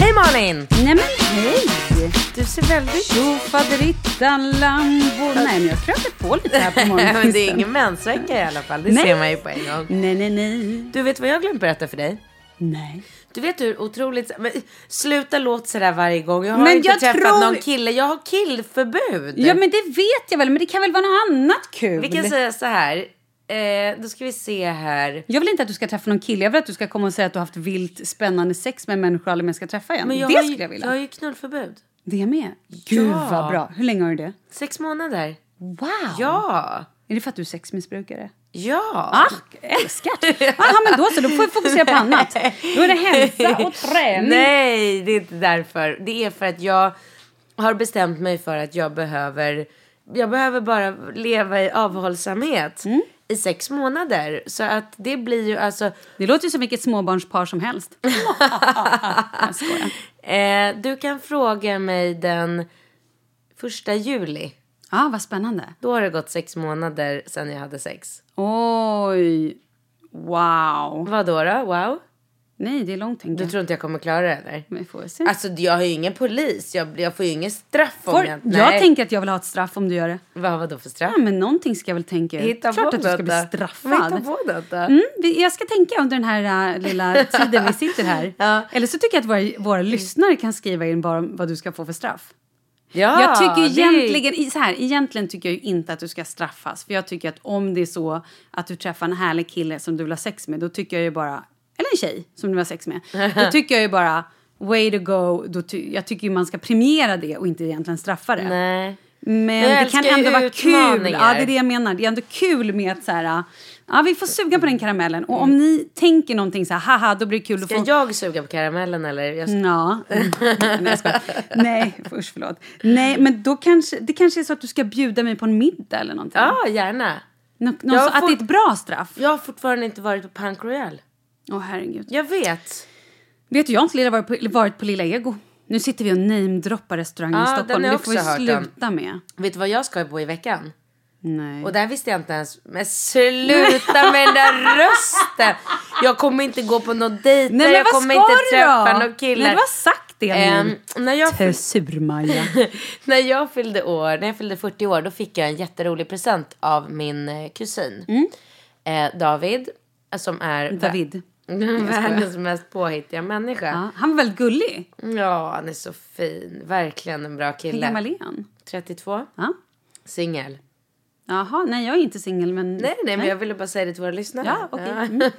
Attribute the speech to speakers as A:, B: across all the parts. A: Hej Malin!
B: Nej men hej!
A: Du ser väldigt...
B: Tjofaderittan Lambo... Nej men jag krökte på lite här på morgonen.
A: Men det är ingen mensvecka i alla fall, det
B: Nej.
A: ser man ju på en gång.
B: Nej nej nej.
A: Du vet vad jag har glömt berätta för dig?
B: Nej.
A: Du vet hur otroligt... Men, sluta låta sådär varje gång. Jag har
B: Men
A: inte
B: jag
A: träffat
B: tror-
A: någon kille. Jag har killförbud.
B: Ja men det vet jag väl, men det kan väl vara något annat kul?
A: Vi kan säga så här. Eh, då ska vi se här.
B: Jag vill inte att du ska träffa någon kille. Jag vill att du ska komma och säga att du har haft vilt spännande sex med en människa och aldrig mer ska träffa igen.
A: Men jag
B: det
A: har ju,
B: skulle jag vilja.
A: Jag har ju knullförbud.
B: Det med. Gud vad bra. Hur länge har du det?
A: Sex månader.
B: Wow!
A: Ja.
B: Är det för att du är sexmissbrukare?
A: Ja.
B: Ah, älskar! Jaha, men då så. Då får vi fokusera på annat. Då är det hälsa och träning.
A: Nej, det är inte därför. Det är för att jag har bestämt mig för att jag behöver, jag behöver bara leva i avhållsamhet
B: Mm.
A: i sex månader. Så att det blir ju alltså,
B: Det låter ju som vilket småbarnspar som helst. jag skojar.
A: eh, du kan fråga mig den första juli.
B: Ja, ah, vad spännande.
A: Då har det gått sex månader sedan jag hade sex.
B: Oj! Wow.
A: Vad då då? Wow.
B: Nej, det är långt tänker
A: Du
B: jag.
A: tror inte jag kommer klara det eller?
B: Men vi får se.
A: Alltså jag har ju ingen polis, jag, jag får ju ingen straff om
B: Mm. får,
A: jag...
B: jag tänker att jag vill ha ett straff om du gör det.
A: Vad var då för straff?
B: Ja, men någonting ska jag väl tänka ut.
A: Hitta
B: Klart
A: på
B: att du ska
A: något
B: bli
A: då.
B: straffad.
A: Hitta på något då.
B: Mm, vi- jag ska tänka under den här äh, lilla tiden vi sitter här.
A: Ja. Mm.
B: Eller så tycker jag att våra, våra lyssnare kan skriva in bara om vad du ska få för straff.
A: Ja,
B: jag tycker
A: det är-
B: egentligen, i- så här, egentligen tycker jag ju inte att du ska straffas. För jag tycker att om det är så att du träffar en härlig kille som du vill ha sex med, då tycker jag ju bara, eller en tjej som du vill ha sex med, då tycker jag ju bara way to go. Då ty, jag tycker ju man ska premiera det och inte egentligen straffa det.
A: Nej.
B: Men
A: Jag
B: det kan
A: älskar ju
B: ändå vara kul.
A: utmaningar.
B: Ja, det är det jag menar. Det är ändå kul med att så här, ja, vi får suga på den karamellen. Och om ni tänker någonting så här, haha, då blir det kul. Då
A: Mm. Ska
B: får...
A: jag suga på karamellen eller? Jag...
B: Ja. Mm. Nej, jag skojar. Nej, usch, förlåt. Nej, men då kanske, det kanske är så att du ska bjuda mig på en middag eller någonting.
A: Ja, gärna.
B: Nå, någon,
A: Jag
B: så, Att
A: får-
B: det är ett bra straff.
A: Jag har fortfarande inte varit på Punk Royal.
B: Åh, herregud.
A: Jag vet.
B: Vet du, jag har inte redan varit på, varit på Lilla Ego. Nu sitter vi och namedroppar restauranger
A: Ja,
B: i
A: den
B: Stockholm.
A: har jag
B: Det får vi
A: också hört om.
B: sluta med.
A: Vet du vad jag ska på i veckan?
B: Nej.
A: Och där visste jag inte ens. Men sluta med den där rösten! Jag kommer inte gå på någon dejter,
B: Nej, men
A: jag
B: vad
A: kommer
B: ska
A: inte
B: du
A: träffa
B: då?
A: någon kille.
B: Nej, du Typ. har sagt det nu.
A: Ehm, när, jag fyll,
B: Sur-Maja.
A: när, jag fyllde år, när jag fyllde 40 år då fick jag en jätterolig present av min eh, kusin. Eh, David, eh, som är vä-
B: Mm. David.
A: världens mest påhittiga människa.
B: Ja, han var väldigt gullig.
A: Ja. han är så fin. Verkligen en bra
B: Hur
A: kille.
B: gammal är han?
A: 32,
B: Ja.
A: singel.
B: Jaha, nej jag är inte singel men...
A: Nej, nej, men jag ville bara säga det till våra lyssnare.
B: Ja, okej.
A: Ja.
B: Mm.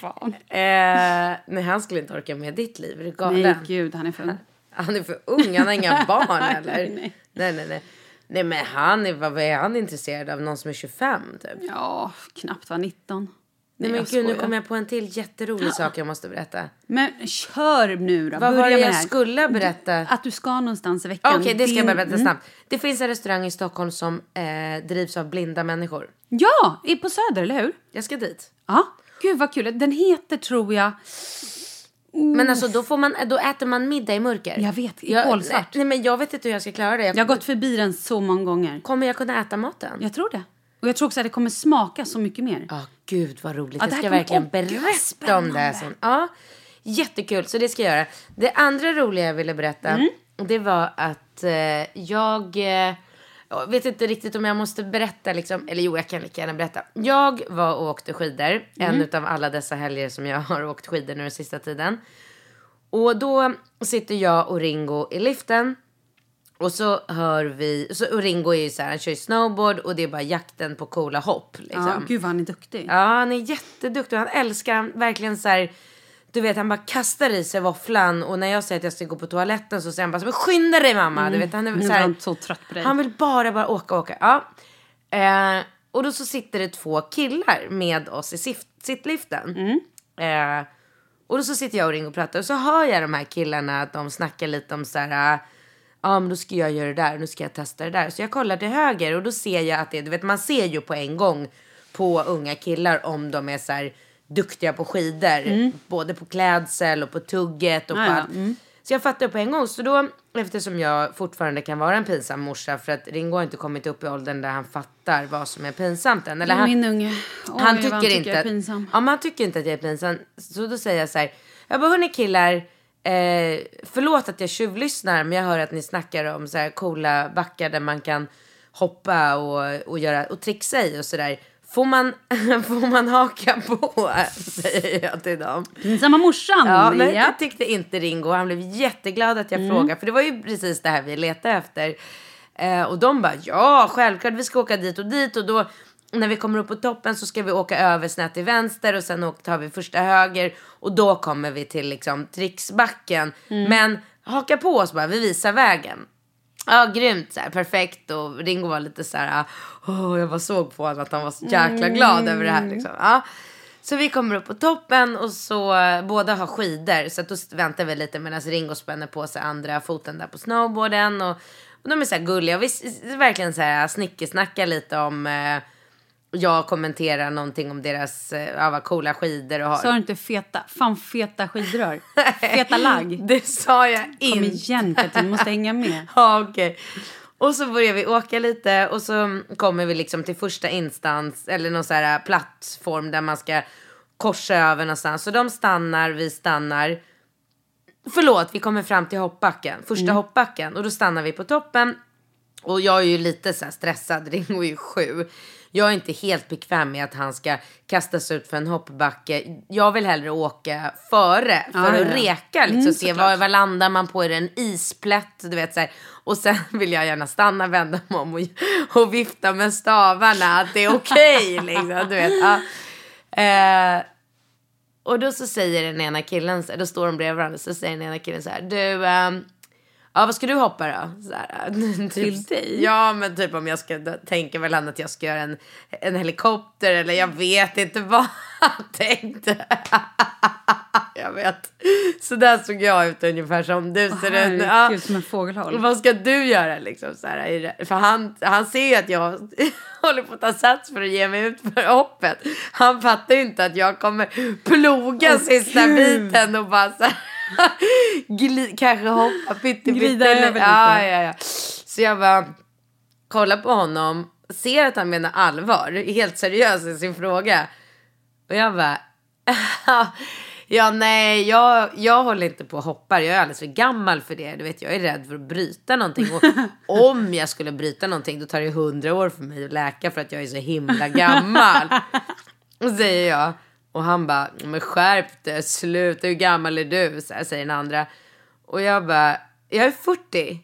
B: Fan.
A: Eh, nej, han skulle inte orka med ditt liv. Är du galen?
B: Nej gud, han är för ung.
A: Han är för ung, han har inga barn eller?
B: Nej.
A: nej, nej. nej. Nej men han är, vad vad är han intresserad av? Någon som är 25 typ? Nej,
B: Ja, knappt var 19. Nej,
A: men
B: jag
A: gud nu
B: skojar.
A: kommer jag på en till jätterolig sak jag måste berätta.
B: Men kör nu då.
A: Vad
B: Börja
A: var det
B: med
A: jag
B: det här.
A: skulle berätta?
B: Att du ska någonstans i
A: Ah,
B: veckan.
A: Okej det ska
B: Din-
A: jag bara berätta
B: Mm.
A: snabbt. Det finns en restaurang i Stockholm som eh, drivs av blinda människor.
B: Ja, är på Söder, eller hur?
A: Jag ska dit.
B: Ja. Gud vad kul. Den heter tror jag...
A: Men alltså då, får man, då äter man middag i mörker.
B: Mm. Jag vet, i
A: Jag- nej,
B: kolsvart.
A: nej men jag vet inte hur jag ska klara det. Jag,
B: Jag har gått förbi den så många gånger.
A: Kommer jag kunna äta maten?
B: Jag tror det. Och jag tror också att det kommer smaka så mycket mer.
A: Ja, gud vad roligt.
B: Ja, det
A: jag
B: här
A: ska
B: kommer-
A: verkligen
B: åh, gud, vad
A: berätta om det här sen. Ja, jättekul, så det ska jag göra. Det andra roliga jag ville berätta,
B: Mm.
A: det var att eh, jag... Eh, jag vet inte riktigt om jag måste berätta, liksom. eller jo, jag kan lika gärna berätta. Jag var och åkte skidor,
B: Mm.
A: en av alla dessa helger som jag har åkt skidor nu den sista tiden. Och då sitter jag och Ringo i liften. Och så hör vi, så, och Ringo är ju så här, han kör ju snowboard och det är bara jakten på coola hopp. Liksom.
B: Ja, gud vad han är duktig.
A: Ja, han är jätteduktig. Han älskar han verkligen så här. Du vet, han bara kastar i sig våfflan och när jag säger att jag ska gå på toaletten så säger han bara så, "Men skynda dig mamma. Du vet, han är
B: Nu
A: så
B: var
A: här.
B: han så trött på dig.
A: Han vill bara, bara åka, åka. Ja. Eh, och då så sitter det två killar med oss i sif- sittliften.
B: Mm.
A: Eh, och då så sitter jag och ringer och pratar och så hör jag de här killarna att de snackar lite om så här. ah, Ja men då ska jag göra det där, nu ska jag testa det där. Så jag kollar till höger och då ser jag att det, du vet man ser ju på en gång på unga killar om de är så här duktiga på skidor. Både på klädsel och på tugget och
B: Mm. Ja,
A: på
B: ja. Mm.
A: allt. Så jag fattade på en gång. Så då, eftersom jag fortfarande kan vara en pinsam morsa för att Ringo har inte kommit upp i åldern där han fattar vad som är pinsamt än. Eller han,
B: Min unge. Oj,
A: han
B: vad
A: tycker,
B: jag
A: inte
B: är
A: att,
B: pinsam.
A: ja, men han tycker inte att jag är pinsam. Så då säger jag så här. Jag bara, hörni killar. Eh, förlåt att jag tjuvlyssnar men jag hör att ni snackar om så här coola backar där man kan hoppa och, och, göra, och trixa i och sådär. Får man, får man haka på? Säger jag till dem.
B: Pinsamma morsan.
A: Ja, men
B: ja.
A: det tyckte inte Ringo. Han blev jätteglad att jag frågade. För det var ju precis det här vi letade efter. Eh, och de bara, ja, självklart vi ska åka dit och dit. Och då när vi kommer upp på toppen så ska vi åka över snett till vänster och sen åk- tar vi första höger. Och då kommer vi till liksom tricksbacken. Men haka på oss bara, vi visar vägen. Ja, grymt. Så här, perfekt. Och Ringo var lite så här... Åh, jag bara såg på honom att han var så jäkla glad över det här.
B: Mm.
A: Liksom. Ja. Så vi kommer upp på toppen och så eh, båda har skidor. Så att då väntar vi lite medan Ringo spänner på sig andra foten där på snowboarden. Och, och de är så här gulliga. Och vi s- s- verkligen så här snickesnackar lite om... Eh, jag kommenterar någonting om deras eh, ja, vad coola skidor och har.
B: Sa du inte feta? Fan, feta skidrör. feta lagg.
A: Det sa jag
B: Kom
A: inte.
B: igen Katrin, du måste hänga med.
A: Ja, okej. Och så börjar vi åka lite och så kommer vi liksom till första instans eller någon så här plattform äh, där man ska korsa över någonstans. Så de stannar, vi stannar. Förlåt, vi kommer fram till hoppbacken, första hoppbacken. Och då stannar vi på toppen. Och jag är ju lite så här stressad, det går ju sju. Jag är inte helt bekväm med att han ska kastas ut för en hoppbacke. Jag vill hellre åka före för
B: Ja, ja,
A: att
B: ja.
A: reka. Liksom,
B: Mm,
A: se
B: såklart.
A: vad, vad landar man på? Är det en isplätt? Du vet, så här. Och sen vill jag gärna stanna, vända mig om och, och vifta med stavarna. Att det är okej liksom. Du vet. Ja. Eh, och då så säger den ena killen, så här- då står de bredvid varandra, så säger den ena killen så här, du, ehm, ja vad ska du hoppa då? Så här, typ,
B: Till dig?
A: Ja men typ om jag ska, då tänker väl han att jag ska göra en, en helikopter eller jag vet inte vad han tänkte. jag vet. Så där såg jag ut ungefär som du ser ut. Ja.
B: Herregud, som en fågelholk.
A: Vad ska du göra liksom? Så här, i det- för han, han ser ju att jag håller på att ta sats för att ge mig ut för hoppet. Han fattar ju inte att jag kommer ploga sista biten och bara så här, gli, kanske hoppa pytte
B: Glida
A: pytte-
B: över lite.
A: Ja, ja, ja. Så jag bara kollar på honom, ser att han menar allvar, är helt seriös i sin fråga. Och jag bara, ja nej, jag, jag håller inte på och hoppar. Jag är alldeles för gammal för det. Du vet, jag är rädd för att bryta någonting. Och om jag skulle bryta någonting då tar det hundra år för mig att läka för att jag är så himla gammal. Och säger jag. Och han bara, men skärp dig, sluta, hur gammal är du? Så här säger den andra. Och jag bara, jag är 40.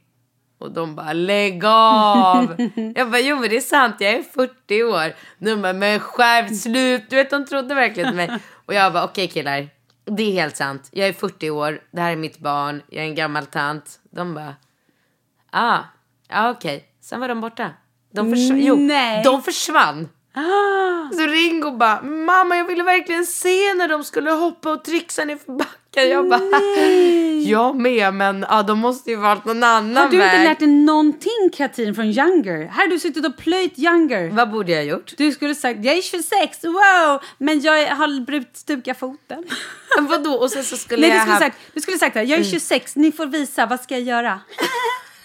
A: Och de bara lägg av. Jag bara jo men det är sant jag är 40 år. De bara men skärp slut. Du vet de trodde verkligen på mig. Och jag bara okej killar. Det är helt sant. Jag är 40 år. Det här är mitt barn. Jag är en gammal tant. De bara ah, ah okej. Sen var de borta. De försvann. Jo,
B: Nej.
A: de försvann. Så Ringo bara, mamma jag ville verkligen se när de skulle hoppa och trixa ner för backen. Jag bara, jag med men ja, de måste ju valt någon annan
B: Har du
A: väg.
B: inte lärt dig någonting Katrin från Younger? Här har du suttit och plöjt Younger.
A: Vad borde jag gjort?
B: Du skulle sagt jag är 26, wow, men jag har brutit stuka foten.
A: Vadå? Och sen så skulle
B: Nej, du
A: jag Mm.
B: skulle
A: haft...
B: sagt, du skulle sagt det här, jag är 26, ni får visa, vad ska jag göra?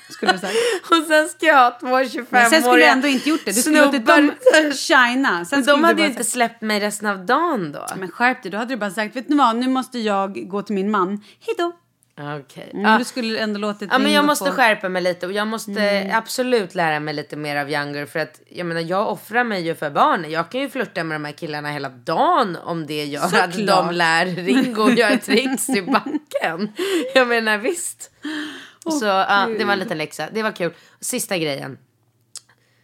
B: Skulle du sagt.
A: Och sen ska jag ha två
B: Men
A: 25-åriga
B: sen skulle du ändå inte gjort det. Du skulle låtit dem shina. Sen skulle
A: De
B: du
A: hade
B: bara
A: ju inte
B: sagt,
A: släppt mig resten av dagen då.
B: Men skärp dig, då hade du bara sagt, vet ni vad, nu måste jag gå till min man. Hej då.
A: Okej.
B: Men
A: Ja.
B: Du skulle ändå låtit
A: Ja, men
B: Ringo
A: jag måste
B: få-
A: skärpa mig lite och jag måste
B: Mm.
A: absolut lära mig lite mer av Younger för att jag menar jag offrar mig ju för barnen. Jag kan ju flirta med de här killarna hela dagen om det gör att
B: Såklart.
A: de lär Ringo att göra tricks i backen. Jag menar visst. så ja, det var en liten läxa. Det var kul. Sista grejen.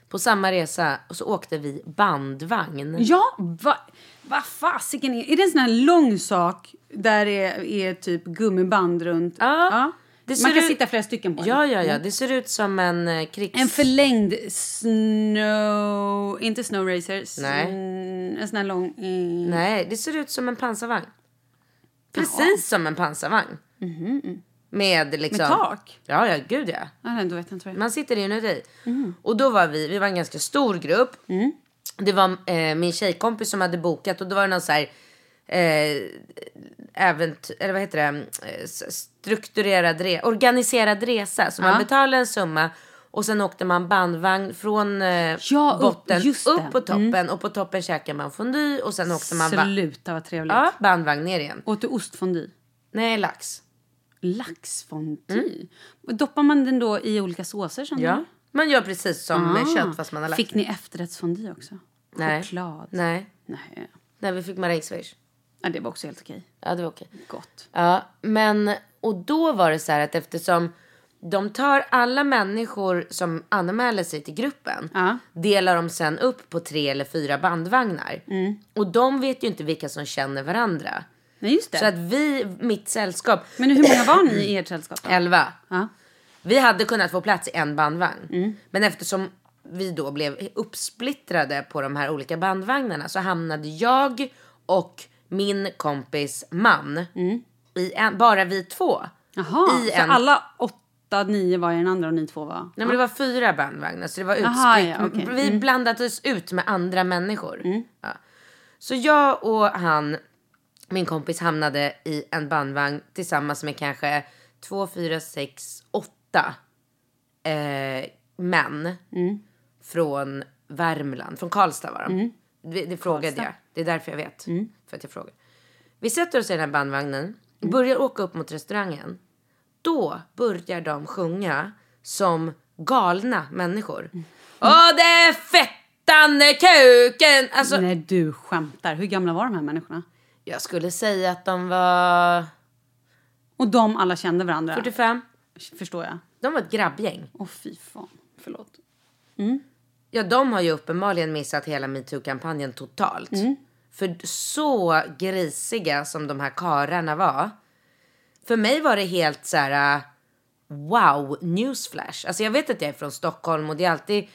A: På samma resa så åkte vi bandvagn.
B: Ja, vad va fasiken är Är det en sån här lång sak där det är, är typ gummiband runt?
A: Ja. Det ser
B: Man kan
A: ut-
B: sitta flera stycken på den.
A: Ja, ja, ja. Det ser ut som en eh, krigs...
B: Mm. En förlängd snow... Inte snow racers.
A: Nej.
B: Mm, En sån här lång... Mm.
A: Nej, det ser ut som en pansarvagn. Precis som en pansarvagn. Med liksom...
B: Mhm. Med tak?
A: Ja, ja, gud ja.
B: Ja, nej, då vet jag inte vad det är.
A: Man sitter inuti.
B: Mhm.
A: Och då var vi, vi var en ganska stor grupp.
B: Mm.
A: Det var eh, min tjejkompis som hade bokat och då var det någon så här... Eh, ävent, eller vad heter det? Eh, s- Strukturerad, re, organiserad resa. Så man betalade en summa och sen åkte man bandvagn från eh,
B: Ja, upp,
A: botten
B: just det. Mm.
A: upp på toppen och på toppen käkade man fondue och sen åkte man ba-
B: Sluta vad trevligt.
A: Ja, bandvagn ner igen.
B: Åt du ostfondy?
A: Nej, lax.
B: Laxfondy? Doppar man den då i olika såser? Som
A: Mm. Ja. Mm. Man gör precis som
B: Ah.
A: med kött fast man har lax.
B: Fick ni efterrättsfondy också?
A: Nej.
B: Choklad?
A: Nej.
B: Nej.
A: Nej, vi fick marängsviss.
B: Ja, det var också helt okej.
A: Ja, det var okej.
B: Gott.
A: Ja, men och då var det så här att eftersom de tar alla människor som anmäler sig till gruppen.
B: Ja.
A: Delar de sen upp på tre eller fyra bandvagnar.
B: Mm.
A: Och de vet ju inte vilka som känner varandra.
B: Nej, just det.
A: Så att vi, mitt sällskap,
B: Men hur många var ni i ert sällskap? då?
A: elva.
B: Ja.
A: Vi hade kunnat få plats i en bandvagn. Men eftersom vi då blev uppsplittrade på de här olika bandvagnarna så hamnade jag och min kompis man i en, bara vi två.
B: Jaha,
A: I
B: så
A: en,
B: alla åtta, nio var i den andra och ni två var...
A: Nej, men det var fyra bandvagnar så det var utspritt.
B: Aha, ja, okej. Mm.
A: Vi blandades ut med andra människor. Ja. Så jag och han, min kompis, hamnade i en bandvagn tillsammans med kanske två, fyra, sex, åtta
B: Mm.
A: eh, män från Värmland. Från Karlstad var de. Det, det frågade jag. Det är därför jag vet. För att jag frågar. Vi sätter oss i den här bandvagnen. Börjar åka upp mot restaurangen. Då börjar de sjunga som galna människor. Åh, det är fettan i kuken! Alltså,
B: Nej, du skämtar. Hur gamla var de här människorna?
A: jag skulle säga att de var
B: Och de alla kände varandra?
A: 45.
B: Förstår jag.
A: De var ett grabbgäng.
B: Åh, fy fan. Förlåt.
A: Ja, de har ju uppenbarligen missat hela metoo-kampanjen totalt. För så grisiga som de här kararna var. För mig var det helt så här... Wow, newsflash. Alltså jag vet att jag är från Stockholm och det är alltid...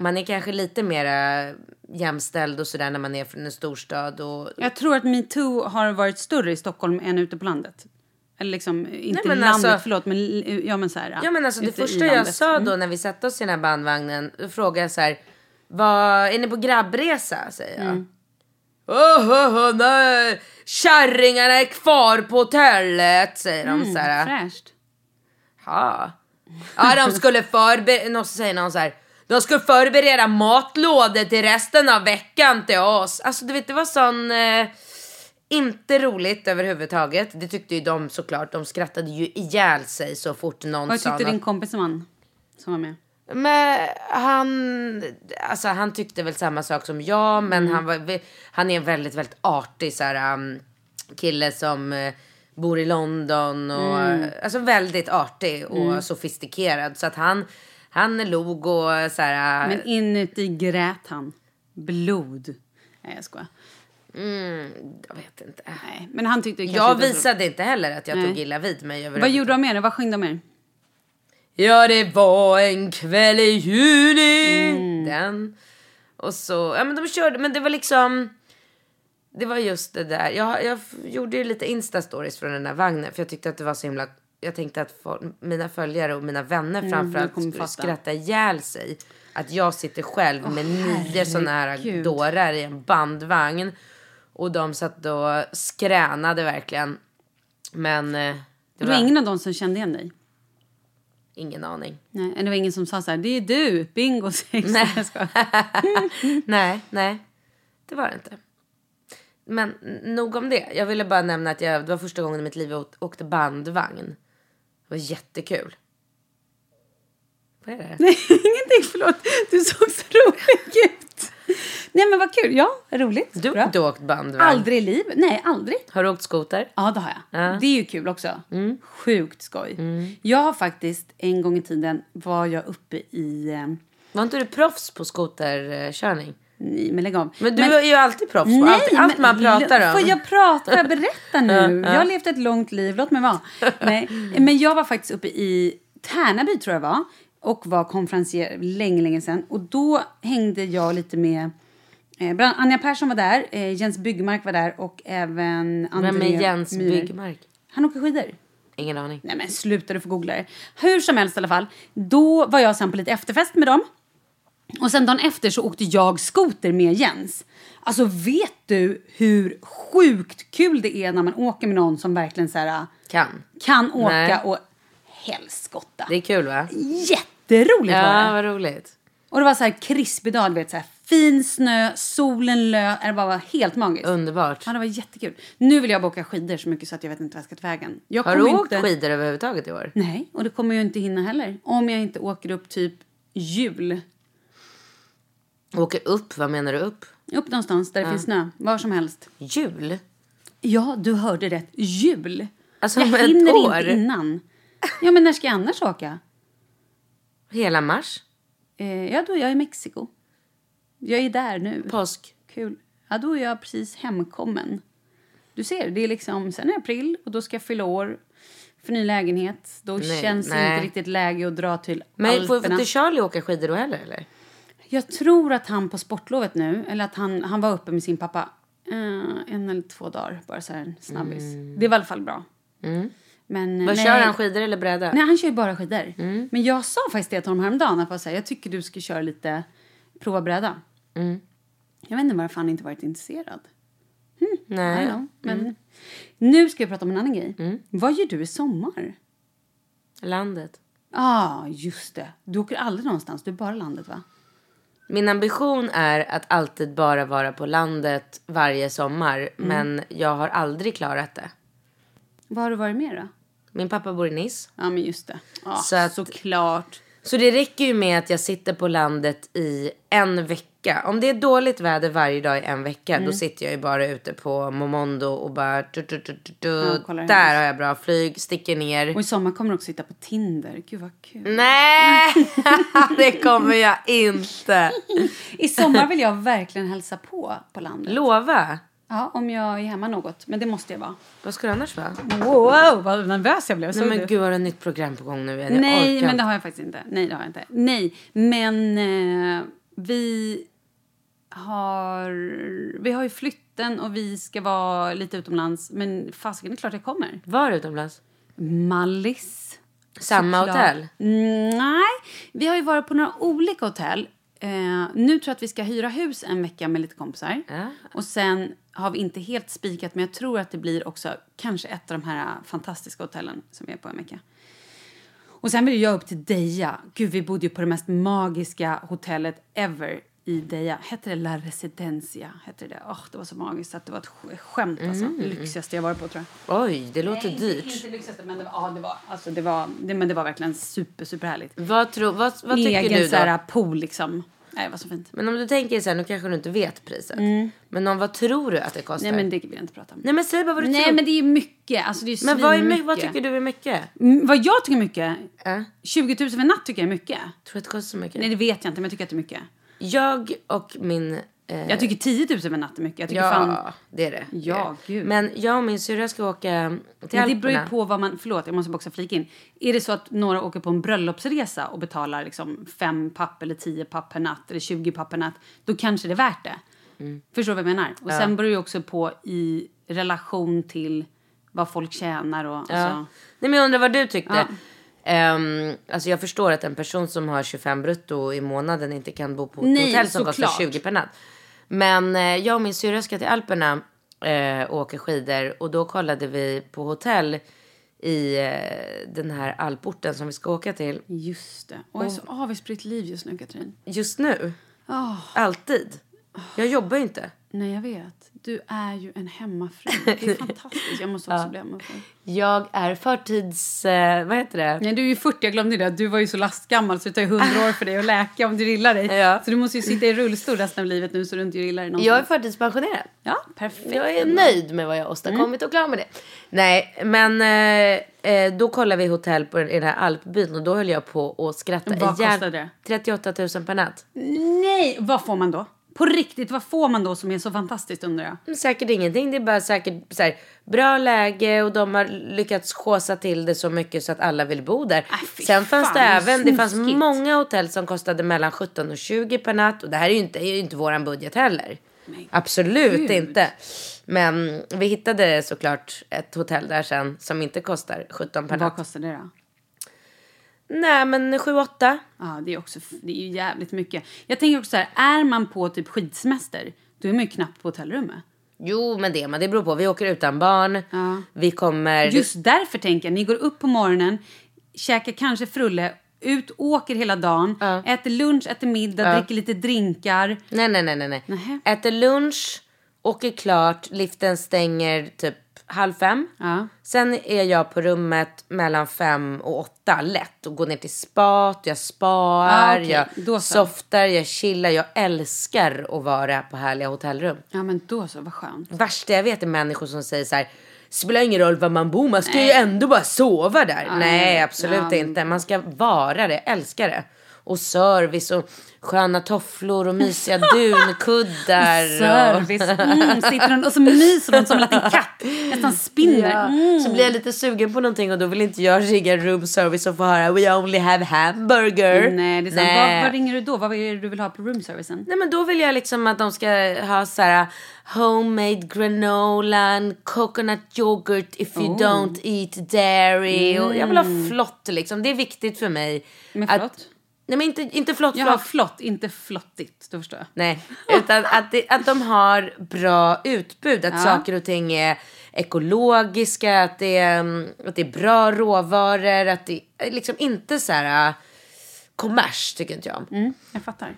A: Man är kanske lite mer eh, jämställd och sådär när man är från en storstad. Och,
B: Jag tror att metoo har varit större i Stockholm än ute på landet. Eller liksom, inte
A: men
B: landet,
A: alltså-
B: förlåt, men li- ja men så här.
A: Ja men alltså det
B: ute i
A: första jag
B: landet.
A: sa då när vi satte oss i den här bandvagnen, då frågade jag så här, vad, är ni på grabbresa? säger jag.
B: Mm.
A: Oh, oh, oh, nej. Kärringarna är kvar på hotellet, säger de
B: Mm,
A: så här.
B: Fräscht.
A: Ja. ja, de skulle förbereda, så säger någon så här, de skulle förbereda matlådor till resten av veckan till oss. Alltså du vet, det var sån, eh, inte roligt överhuvudtaget. Det tyckte ju de såklart, de skrattade ju ihjäl sig så fort någon
B: Vad
A: sa
B: tyckte
A: något.
B: din kompis som vann? Som var med?
A: Men han, alltså han tyckte väl samma sak som jag, men
B: Mm.
A: han, var, han är en väldigt, väldigt artig så här, um, kille som eh, bor i London. Och,
B: Mm.
A: Alltså väldigt artig och sofistikerad. Så att han, han log och så här,
B: Men inuti grät han. Blod. Nej, jag skojar.
A: mm, jag vet inte.
B: Nej, men han tyckte kanske
A: Jag
B: inte att-
A: visade inte heller att jag
B: Nej.
A: tog illa vid mig. över-
B: Vad gjorde de mer? Vad sjöng de mer?
A: Ja, det var en kväll i juni.
B: Mm.
A: Den. Och så, ja men de körde, men det var liksom. Det var just det där. Jag, jag f- gjorde ju lite instastories från den här vagnen. För jag tyckte att det var så himla. Jag tänkte att fol- mina följare och mina vänner framförallt
B: Mm, kommer
A: skulle
B: fatta.
A: skratta ihjäl sig. Att jag sitter själv med nio såna här
B: herregud.
A: dårar i en bandvagn. Och de satt och skränade verkligen. Men eh, det
B: Det
A: var
B: var ingen av dem som kände igen dig?
A: ingen aning.
B: Nej, det var ingen som sa så här, det är du, bingo sex. Nej. Jag skojar.
A: nej, nej. Det var det inte. Men n- nog om det. Jag ville bara nämna att jag, det var första gången i mitt liv jag åt- åkte bandvagn. Det var jättekul. Vad är det?
B: Nej, ingenting, förlåt. Du såg så rolig ut. Nej, men vad kul. Ja, roligt.
A: Du har
B: Bra.
A: inte åkt bandvagn?
B: Aldrig i livet. Nej, aldrig.
A: Har du åkt skoter?
B: Ja, det har jag. Det är ju kul också.
A: Mm.
B: Sjukt skoj. Jag har faktiskt, en gång i tiden var jag uppe i... Eh,
A: Var inte du proffs på skoterkörning?
B: nej, men lägg av.
A: Men du är ju alltid proffs på allt, allt
B: men
A: man pratar om.
B: Får jag prata? Får jag berätta nu? Jag har levt ett långt liv, låt mig vara. Nej, men jag var faktiskt uppe i Tärnaby tror jag var och var konferencier länge, länge sedan. Och då hängde jag lite med eh, bland Anja Persson var där, eh, Jens Byggmark var där och även André
A: Vem är Jens
B: Myhr.
A: Byggmark?
B: Han åker skidor.
A: Ingen aning.
B: Nej men sluta, du får googla det. Hur som helst i alla fall. Då var jag sen på lite efterfest med dem. Och sen dagen efter så åkte jag skoter med Jens. Alltså vet du hur sjukt kul det är när man åker med någon som verkligen så här, äh,
A: Kan.
B: kan åka
A: Nej.
B: och helskotta.
A: Det är kul va?
B: Jätteroligt var
A: Ja,
B: det.
A: vad roligt.
B: Och det var så här krispig dag, du vet så här fin snö, solen lös. Det bara var helt magiskt.
A: Underbart.
B: Ja, det var jättekul. Nu vill jag bara åka skidor så mycket så att jag vet inte vad jag ska ta vägen. Jag
A: Har du
B: kommer
A: åkt
B: inte-
A: skidor överhuvudtaget i år?
B: Nej, och det kommer jag inte hinna heller. Om jag inte åker upp typ jul.
A: Åker upp? Vad menar du upp?
B: Upp någonstans där det finns snö. Var som helst.
A: Jul?
B: Ja, du hörde rätt. Jul!
A: Alltså,
B: jag
A: om ett
B: hinner
A: år.
B: inte innan. Ja, men när ska jag annars åka?
A: Hela mars?
B: Eh, ja, då är jag i Mexiko. Jag är där nu.
A: Påsk?
B: Kul. Ja, då är jag precis hemkommen. Du ser, det är liksom, sen är april och då ska jag fylla år för ny lägenhet. Då
A: Nej,
B: känns det
A: nej.
B: inte riktigt läge att dra till
A: Men får, får
B: Alperna.
A: inte Charlie åka skidor då heller eller?
B: Jag tror att han på sportlovet nu, eller att han, han var uppe med sin pappa eh, en eller två dagar, bara så här en snabbis. Det var i alla fall bra. Men, eh,
A: Mm. Vad
B: nej,
A: kör han, skidor Mm. eller bräda?
B: Nej, han kör ju bara skidor. Men jag sa faktiskt det till honom häromdagen, att jag, så här, jag tycker du ska köra lite, prova bräda.
A: Mm.
B: Jag vet inte varför han inte varit intresserad. I
A: Nej.
B: don't
A: Mm.
B: know, men Nu ska vi prata om en annan grej. Vad gör du i sommar?
A: Landet?
B: Ja, ah, just det. Du åker aldrig någonstans, du är bara landet va?
A: Min ambition är att alltid bara vara på landet varje sommar.
B: Mm.
A: Men jag har aldrig klarat det.
B: Vad har du varit med då?
A: Min pappa bor i Nice.
B: Ja, men just det. Ja,
A: Så att-
B: Såklart.
A: Så det räcker ju med att jag sitter på landet i en vecka. Om det är dåligt väder varje dag i en vecka,
B: Mm.
A: då sitter jag ju bara ute på Momondo och bara... Tu, tu, tu, tu, tu.
B: kollar hur
A: Där
B: det-
A: har jag bra flyg, sticker ner.
B: Och i sommar kommer du också sitta på Tinder. Gud vad kul.
A: Nej, det kommer jag inte.
B: I sommar vill jag verkligen hälsa på på landet.
A: Lova.
B: Ja, om jag är hemma något. Men det måste jag vara.
A: Vad ska det annars vara?
B: Wow, vad nervös jag blev.
A: Nej men gud, har du ett nytt program på gång nu? Jag
B: Nej,
A: orkar
B: men det
A: inte.
B: har jag faktiskt inte. Nej, det har jag inte. Nej, men eh, vi har... Vi har ju flytten och vi ska vara lite utomlands. Men fasiken, det är klart jag kommer.
A: Var utomlands?
B: Mallis.
A: Samma
B: Såklart.
A: hotell?
B: Mm, Nej, vi har ju varit på några olika hotell. Eh, nu tror jag att vi ska hyra hus en vecka med lite kompisar.
A: Ja.
B: Och sen har vi inte helt spikat, men jag tror att det blir också kanske ett av de här fantastiska hotellen som vi är på en vecka. Och sen vill ju jag upp till Deja. Gud, vi bodde ju på det mest magiska hotellet ever i Deja. Hette det La Residencia? Hette det det? Åh, det var så magiskt att det var ett sk- skämt alltså.
A: Mm.
B: Det lyxigaste jag varit på tror jag.
A: Oj, det låter
B: Nej, Inte,
A: dyrt.
B: inte lyxigaste, men det var, ja, det var, alltså, det var, det, men det var verkligen super, superhärligt.
A: Vad, tror, vad, vad tycker
B: Egen
A: du
B: så
A: då?
B: här, pool liksom. Nej, det var så fint.
A: Men om du tänker så här, nu kanske du inte vet priset. Men om, vad tror du att det kostar?
B: Mm. Nej, men det vill jag inte prata om.
A: Nej, men säg bara vad du
B: Nej,
A: tror.
B: men det är ju mycket. Alltså, det är ju
A: men vad, är, my-
B: svinmycket.
A: vad tycker du är mycket?
B: Mm, Vad jag tycker är mycket?
A: Äh?
B: 20 000 för natt tycker jag är mycket.
A: Tror du att det kostar så mycket?
B: Nej, det vet jag inte, men jag tycker att det är mycket.
A: Jag och min... Eh,
B: Jag tycker 10 000 för natt är mycket. Jag tycker
A: ja,
B: fan...
A: det är det. det är
B: Ja,
A: det.
B: gud.
A: Men jag och min syrra ska åka till
B: Men det
A: Alperna.
B: beror ju på vad man... Förlåt, jag måste bara också flika in. Är det så att några åker på en bröllopsresa och betalar liksom fem papp eller tio papp per natt eller 20 papp per natt, då kanske det är värt det. Förstår du vad jag menar? Och sen beror det ju också på i relation till vad folk tjänar och... Ja.
A: Ja.
B: Alltså,
A: Nej, men jag undrar vad du tyckte. Ehm, alltså jag förstår att en person som har 25 brutto i månaden inte kan bo på ett
B: Nej,
A: hotell som kostar
B: såklart.
A: 20 per natt. Men eh, jag och min syrra ska till Alperna eh, och åka skidor och då kollade vi på hotell i eh, den här alporten som vi ska åka till
B: just det. Och jag är så avundspritt liv just nu, Katrin.
A: just nu.
B: Åh.
A: Alltid. Jag jobbar ju inte.
B: Nej, jag vet. Du är ju en hemmafru. Det är fantastiskt. Jag måste också bli hemmafru.
A: Jag är förtids... Eh, vad heter det?
B: Nej, du är ju 40. Jag glömde det. Du var ju så lastgammal så det tar ju 100 år för dig att läka om du grillar dig.
A: Ja.
B: Så du måste ju sitta i rullstol resten av livet nu så du inte grillar dig
A: Jag är
B: någonstans.
A: förtidspensionerad.
B: Ja, perfekt. Mm.
A: Jag är nöjd med vad jag åstadkommit och klar med det. Nej, men eh, eh, då kollade vi hotell på den, i den här alpbyn och då höll jag på att skratta
B: Vad kostade det?
A: 38 000 per natt.
B: Nej! Vad får man då? På riktigt, vad får man då som är så fantastiskt undrar jag?
A: Men Mm, Säkert ingenting, det är bara säkert så här, bra läge och de har lyckats chåsa till det så mycket så att alla vill bo där.
B: Aj, Äh, fy
A: Sen fanns
B: fan,
A: det även, det fanns
B: snuskigt.
A: många hotell som kostade mellan 17 och 20 per natt och det här är ju inte, är ju inte våran budget heller. Absolut
B: gud.
A: inte. Men vi hittade såklart ett hotell där sen som inte kostar 17 per natt.
B: Vad kostar det då?
A: Nej, men 7-8.
B: Ja, det är, också, f- det är ju jävligt mycket. Jag tänker också så här, är man på typ skidsemester, då är man ju knappt på hotellrummet.
A: Jo, men det, men det beror på. Vi åker utan barn.
B: Ja.
A: Vi kommer...
B: Just därför tänker jag, ni går upp på morgonen, käkar kanske frulle, ut, åker hela dagen, äter lunch, äter middag, dricker lite drinkar.
A: Nej, nej, nej, nej. nej.
B: Nähä.
A: Äter lunch, åker klart, liften stänger typ halv fem.
B: Ja.
A: Sen är jag på rummet mellan fem och åtta, lätt. Och går ner till spat, jag spar,
B: Ah, okej. Då
A: jag
B: så.
A: softar, jag chillar. Jag älskar att vara på härliga hotellrum.
B: Ja men då så, vad skönt.
A: värsta jag vet är människor som säger så här. Spelar ingen roll var man bor, man ska ju ändå bara sova där. Nej, absolut
B: Ja.
A: inte. Man ska vara det, älska det. Och service och sköna tofflor och mysiga dunkuddar.
B: Service. Mm, sitter hon och så myser hon som en liten katt. Nästan spinner.
A: Ja.
B: Mm.
A: Så blir jag lite sugen på någonting och då vill inte jag rigga room service och få höra we only have hamburger.
B: Mm, Nej, det är sant. Vad,
A: Nej.
B: vad ringer du då? Vad är det du vill ha på roomservicen?
A: Nej men då vill jag liksom att de ska ha så här uh, homemade granola and coconut yoghurt if
B: Oh.
A: you don't eat dairy. Och jag vill ha flott liksom. Det är viktigt för mig.
B: Mm. Med
A: att-
B: flott?
A: Nej men inte, inte flott
B: Jag har
A: flott.
B: flott, inte flottigt. Då förstår jag.
A: Nej. Utan att, det, att de har bra utbud. Att saker och ting är ekologiska. Att det är, mm, att det är bra råvaror. Att det är liksom inte så här äh, uh, kommers tycker inte jag om.
B: Mm, jag fattar.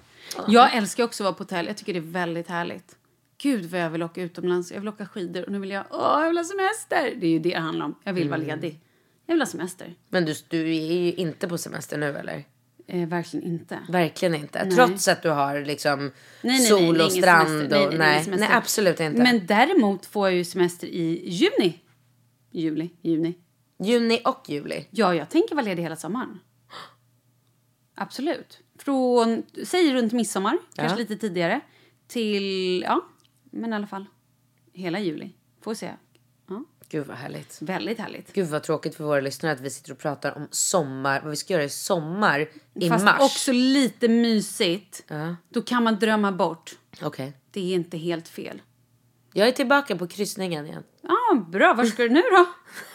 B: Jag älskar också att vara på hotell. Jag tycker det är väldigt härligt. Gud vad jag vill åka utomlands. Jag vill åka skidor och nu vill jag, åh, jag vill ha semester. Det är ju det det handlar om. Jag vill vara ledig. Jag vill ha semester.
A: Men du, du är ju inte på semester nu eller?
B: Eh, verkligen inte.
A: Verkligen inte. Trots att du har liksom
B: Nej, nej, nej,
A: sol
B: det är
A: och
B: ingen
A: strand.
B: semester.
A: och,
B: det är
A: nej,
B: ingen semester.
A: nej, absolut inte.
B: Men däremot får jag ju semester i juni. Juli, juni.
A: Juni och juli.
B: Ja, jag tänker vara ledig hela sommaren. Absolut. Från, säg runt midsommar, kanske lite tidigare, till, ja, men i alla fall hela juli. Får se. Ja,
A: Gud vad härligt.
B: väldigt härligt.
A: Gud vad tråkigt för våra lyssnare att vi sitter och pratar om sommar, vad vi ska göra i sommar i
B: Fast
A: mars.
B: också lite mysigt.
A: Ja.
B: Då kan man drömma bort.
A: Okej.
B: Det är inte helt fel.
A: Jag är tillbaka på kryssningen igen.
B: Ja, bra. Var ska du nu då?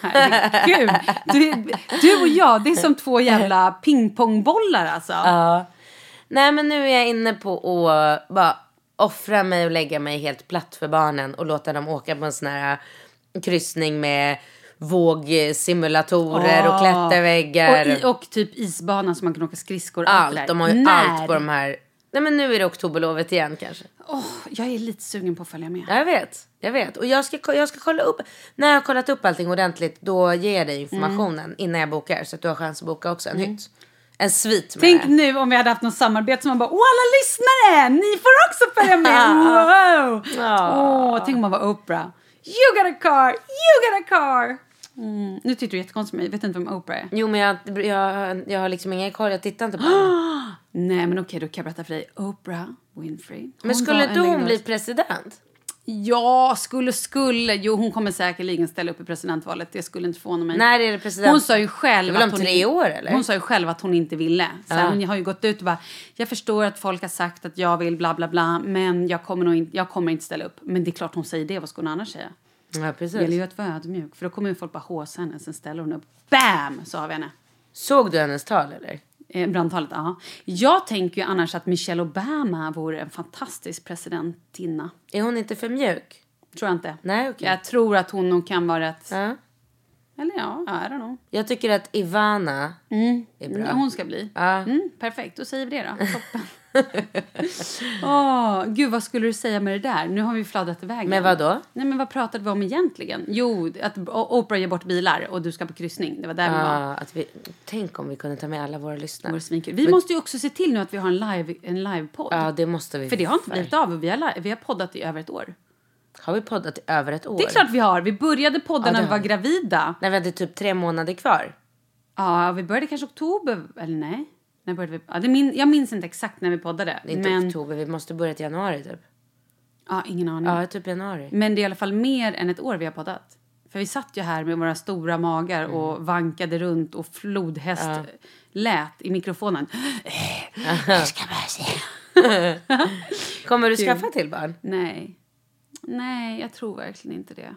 B: Herregud. Du, du och jag, det är som två jävla pingpongbollar alltså.
A: Nej men nu är jag inne på att bara offra mig och lägga mig helt platt för barnen och låta dem åka på en sån här eh, kryssning med vågsimulatorer och klätterväggar.
B: Och, i, och typ isbana som man kan åka skridskor. det
A: allt.
B: där.
A: De har ju
B: När?
A: allt på de här. Nej men nu är det oktoberlovet igen kanske.
B: Åh, jag är lite sugen på att följa med.
A: Ja, jag vet. Jag vet. Och jag ska, ko- jag ska kolla upp. När jag har kollat upp allting ordentligt då ger jag dig informationen
B: Mm.
A: innan jag bokar. Så att du har chans att boka också en hytt. En svit med
B: Tänk nu om vi hade haft något samarbete som man bara, åh alla lyssnare, ni får också följa med. Wow. Åh, tänk om man var Oprah. You got a car, you got a car. Mm. Nu tittar du jättekonstigt på mig, vet inte vem Oprah är.
A: Jo men jag, jag, jag har liksom ingen koll. Jag tittar inte på henne.
B: Nej men okej, då kan jag berätta för dig. Oprah Winfrey. Hon
A: Men
B: var
A: skulle
B: en
A: då hon
B: legendar-
A: bli president?
B: Ja, skulle, skulle. Jo, hon kommer säkerligen ställa upp i presidentvalet. Det skulle inte förvåna mig.
A: När är det president?
B: Hon sa ju
A: Det är
B: själv
A: väl om
B: att hon,
A: tre år, eller?
B: Hon sa ju själv att hon inte ville. Så här, Hon har ju gått ut och bara, jag förstår att folk har sagt att jag vill bla bla bla, men jag kommer, nog in, jag kommer inte ställa upp. Men det är klart hon säger det, vad ska hon annars säga?
A: Ja
B: Det gäller
A: precis.
B: ju att vara ödmjuk, för då kommer ju folk bara håsa henne, sen ställer hon upp. BAM! Så har vi henne.
A: Såg du hennes tal eller?
B: Eh, brandtalet, ja. Jag tänker ju annars att Michelle Obama vore en fantastisk presidentinna.
A: Är hon inte för mjuk?
B: Tror jag inte.
A: Nej okej.
B: Jag tror att hon nog kan vara rätt...
A: Ja.
B: Eller ja, I don't know.
A: Jag tycker att Ivana är bra.
B: Ja, Hon ska bli.
A: Ja.
B: Mm, perfekt, då säger vi det då. Toppen. Åh, gud, vad skulle du säga med det där? Nu har vi fladdrat iväg.
A: Men
B: igen.
A: vadå?
B: Nej, men vad pratade vi om egentligen? Jo, att O- Oprah ger bort bilar och du ska på kryssning. Det var där vi var.
A: Ja, att vi, tänk om vi kunde ta med alla våra
B: Det
A: lyssnare.
B: vore svinkul. Vi måste ju också se till nu att vi har en live en livepodd.
A: Ja det måste vi.
B: För det har inte blivit av. och Vi har, li- vi har poddat i över ett år.
A: Har vi poddat i över ett år?
B: Det är klart vi har. Vi började
A: Ja,
B: podda
A: det
B: när vi
A: har
B: var
A: vi.
B: gravida.
A: När vi hade typ tre månader kvar.
B: Ja, vi började kanske oktober. Eller nej. När började vi? Ja, det min, jag minns inte exakt när vi poddade.
A: Det är Inte
B: men,
A: oktober, vi måste börja till januari typ.
B: Ja, ingen aning.
A: Ja, typ januari.
B: Men det är i alla fall mer än ett år vi har poddat. För vi satt ju här med våra stora magar
A: Mm.
B: och vankade runt och flodhäst lät i mikrofonen.
A: Kommer du skaffa till barn?
B: Nej. Nej, jag tror verkligen inte det.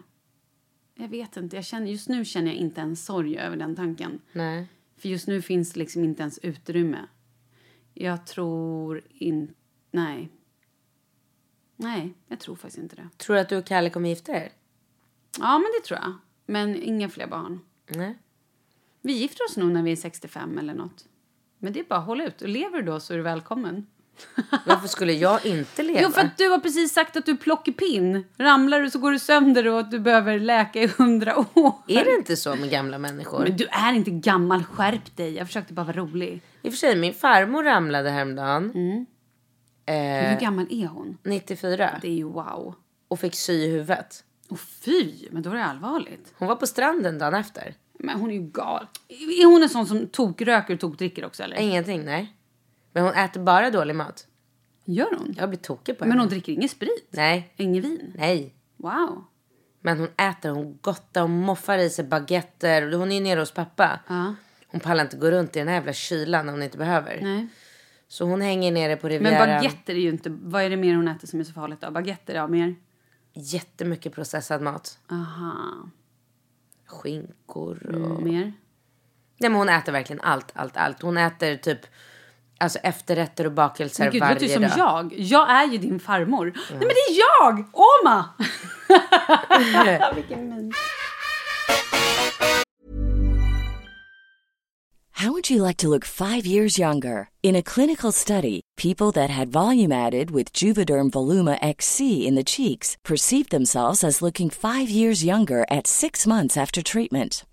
B: Jag vet inte. Jag känner, just nu känner jag inte en sorg över den tanken.
A: Nej.
B: För just nu finns det liksom inte ens utrymme. Jag tror inte... Nej. Nej, jag tror faktiskt inte det.
A: Tror du att du och Kalle kommer gifta er?
B: Ja, men det tror jag. Men inga fler barn.
A: Nej.
B: Vi gifter oss nog när vi är 65 eller något. Men det är bara håll ut. Och lever du då så är du välkommen.
A: Varför skulle jag inte leva?
B: Jo, för att du har precis sagt att du är plockepinn. Ramlar du så går du sönder och att du behöver läka i hundra år.
A: Är det inte så med gamla människor?
B: Men du är inte gammal. Skärp dig. Jag försökte bara vara rolig.
A: I och för sig, min farmor ramlade häromdagen.
B: Mm. Hur
A: Eh,
B: gammal är hon?
A: 94.
B: Det är ju wow.
A: Och fick sy i huvudet.
B: Och fy, men då är det allvarligt.
A: Hon var på stranden dagen efter.
B: Men hon är ju gal. Är hon en sån som tokröker och tokdricker också eller?
A: Ingenting, nej. Men hon äter bara dålig mat.
B: Gör hon?
A: Jag blir tokig på henne.
B: Men hon dricker ingen sprit?
A: Nej,
B: Ingen vin?
A: nej.
B: Wow.
A: Men hon äter, hon gottar, hon moffar i sig baguetter. Hon är ju nere hos pappa.
B: Ja.
A: Hon pallar inte gå runt i den här jävla kylan om hon inte behöver.
B: Nej.
A: Så hon hänger nere på
B: Men
A: Rivieran.
B: baguetter är ju inte... Vad är det mer hon äter som är så farligt då? Baguetter, ja mer.
A: Jättemycket processad mat.
B: Aha.
A: Skinkor och...
B: Mm, mer.
A: Nej men hon äter verkligen allt, allt, allt. Hon äter typ alltså efterrätter och bakelser
B: Men gud, det
A: varje
B: låter ju som
A: dag.
B: jag. Jag är ju din farmor. Nej men det är jag! Oma!
C: How How would you like to look five years younger? In a clinical study, people that had volume added with Juvederm Voluma XC in the cheeks perceived themselves as looking five years younger at six months after treatment.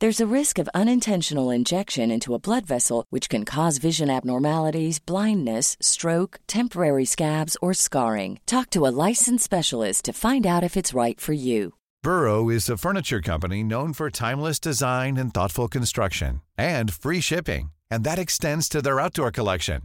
C: There's a risk of unintentional injection into a blood vessel, which can cause vision abnormalities, blindness, stroke, temporary scabs, or scarring. Talk to a licensed specialist to find out if it's right for you.
D: Burrow is a furniture company known for timeless design and thoughtful construction and free shipping, and that extends to their outdoor collection.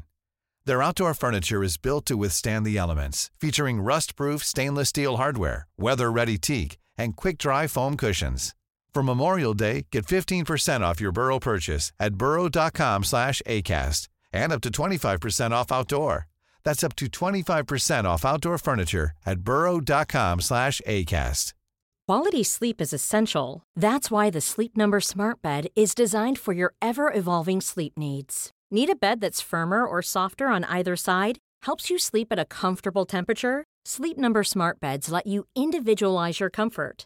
D: Their outdoor furniture is built to withstand the elements, featuring rust-proof stainless steel hardware, weather-ready teak, and quick-dry foam cushions. For Memorial Day, get 15% off your Burrow purchase at burrow.com slash ACAST and up to 25% off outdoor. That's up to 25% off outdoor furniture at burrow.com slash ACAST.
E: Quality sleep is essential. That's why the Sleep Number Smart Bed is designed for your ever evolving sleep needs. Need a bed that's firmer or softer on either side? Helps you sleep at a comfortable temperature? Sleep Number Smart Beds let you individualize your comfort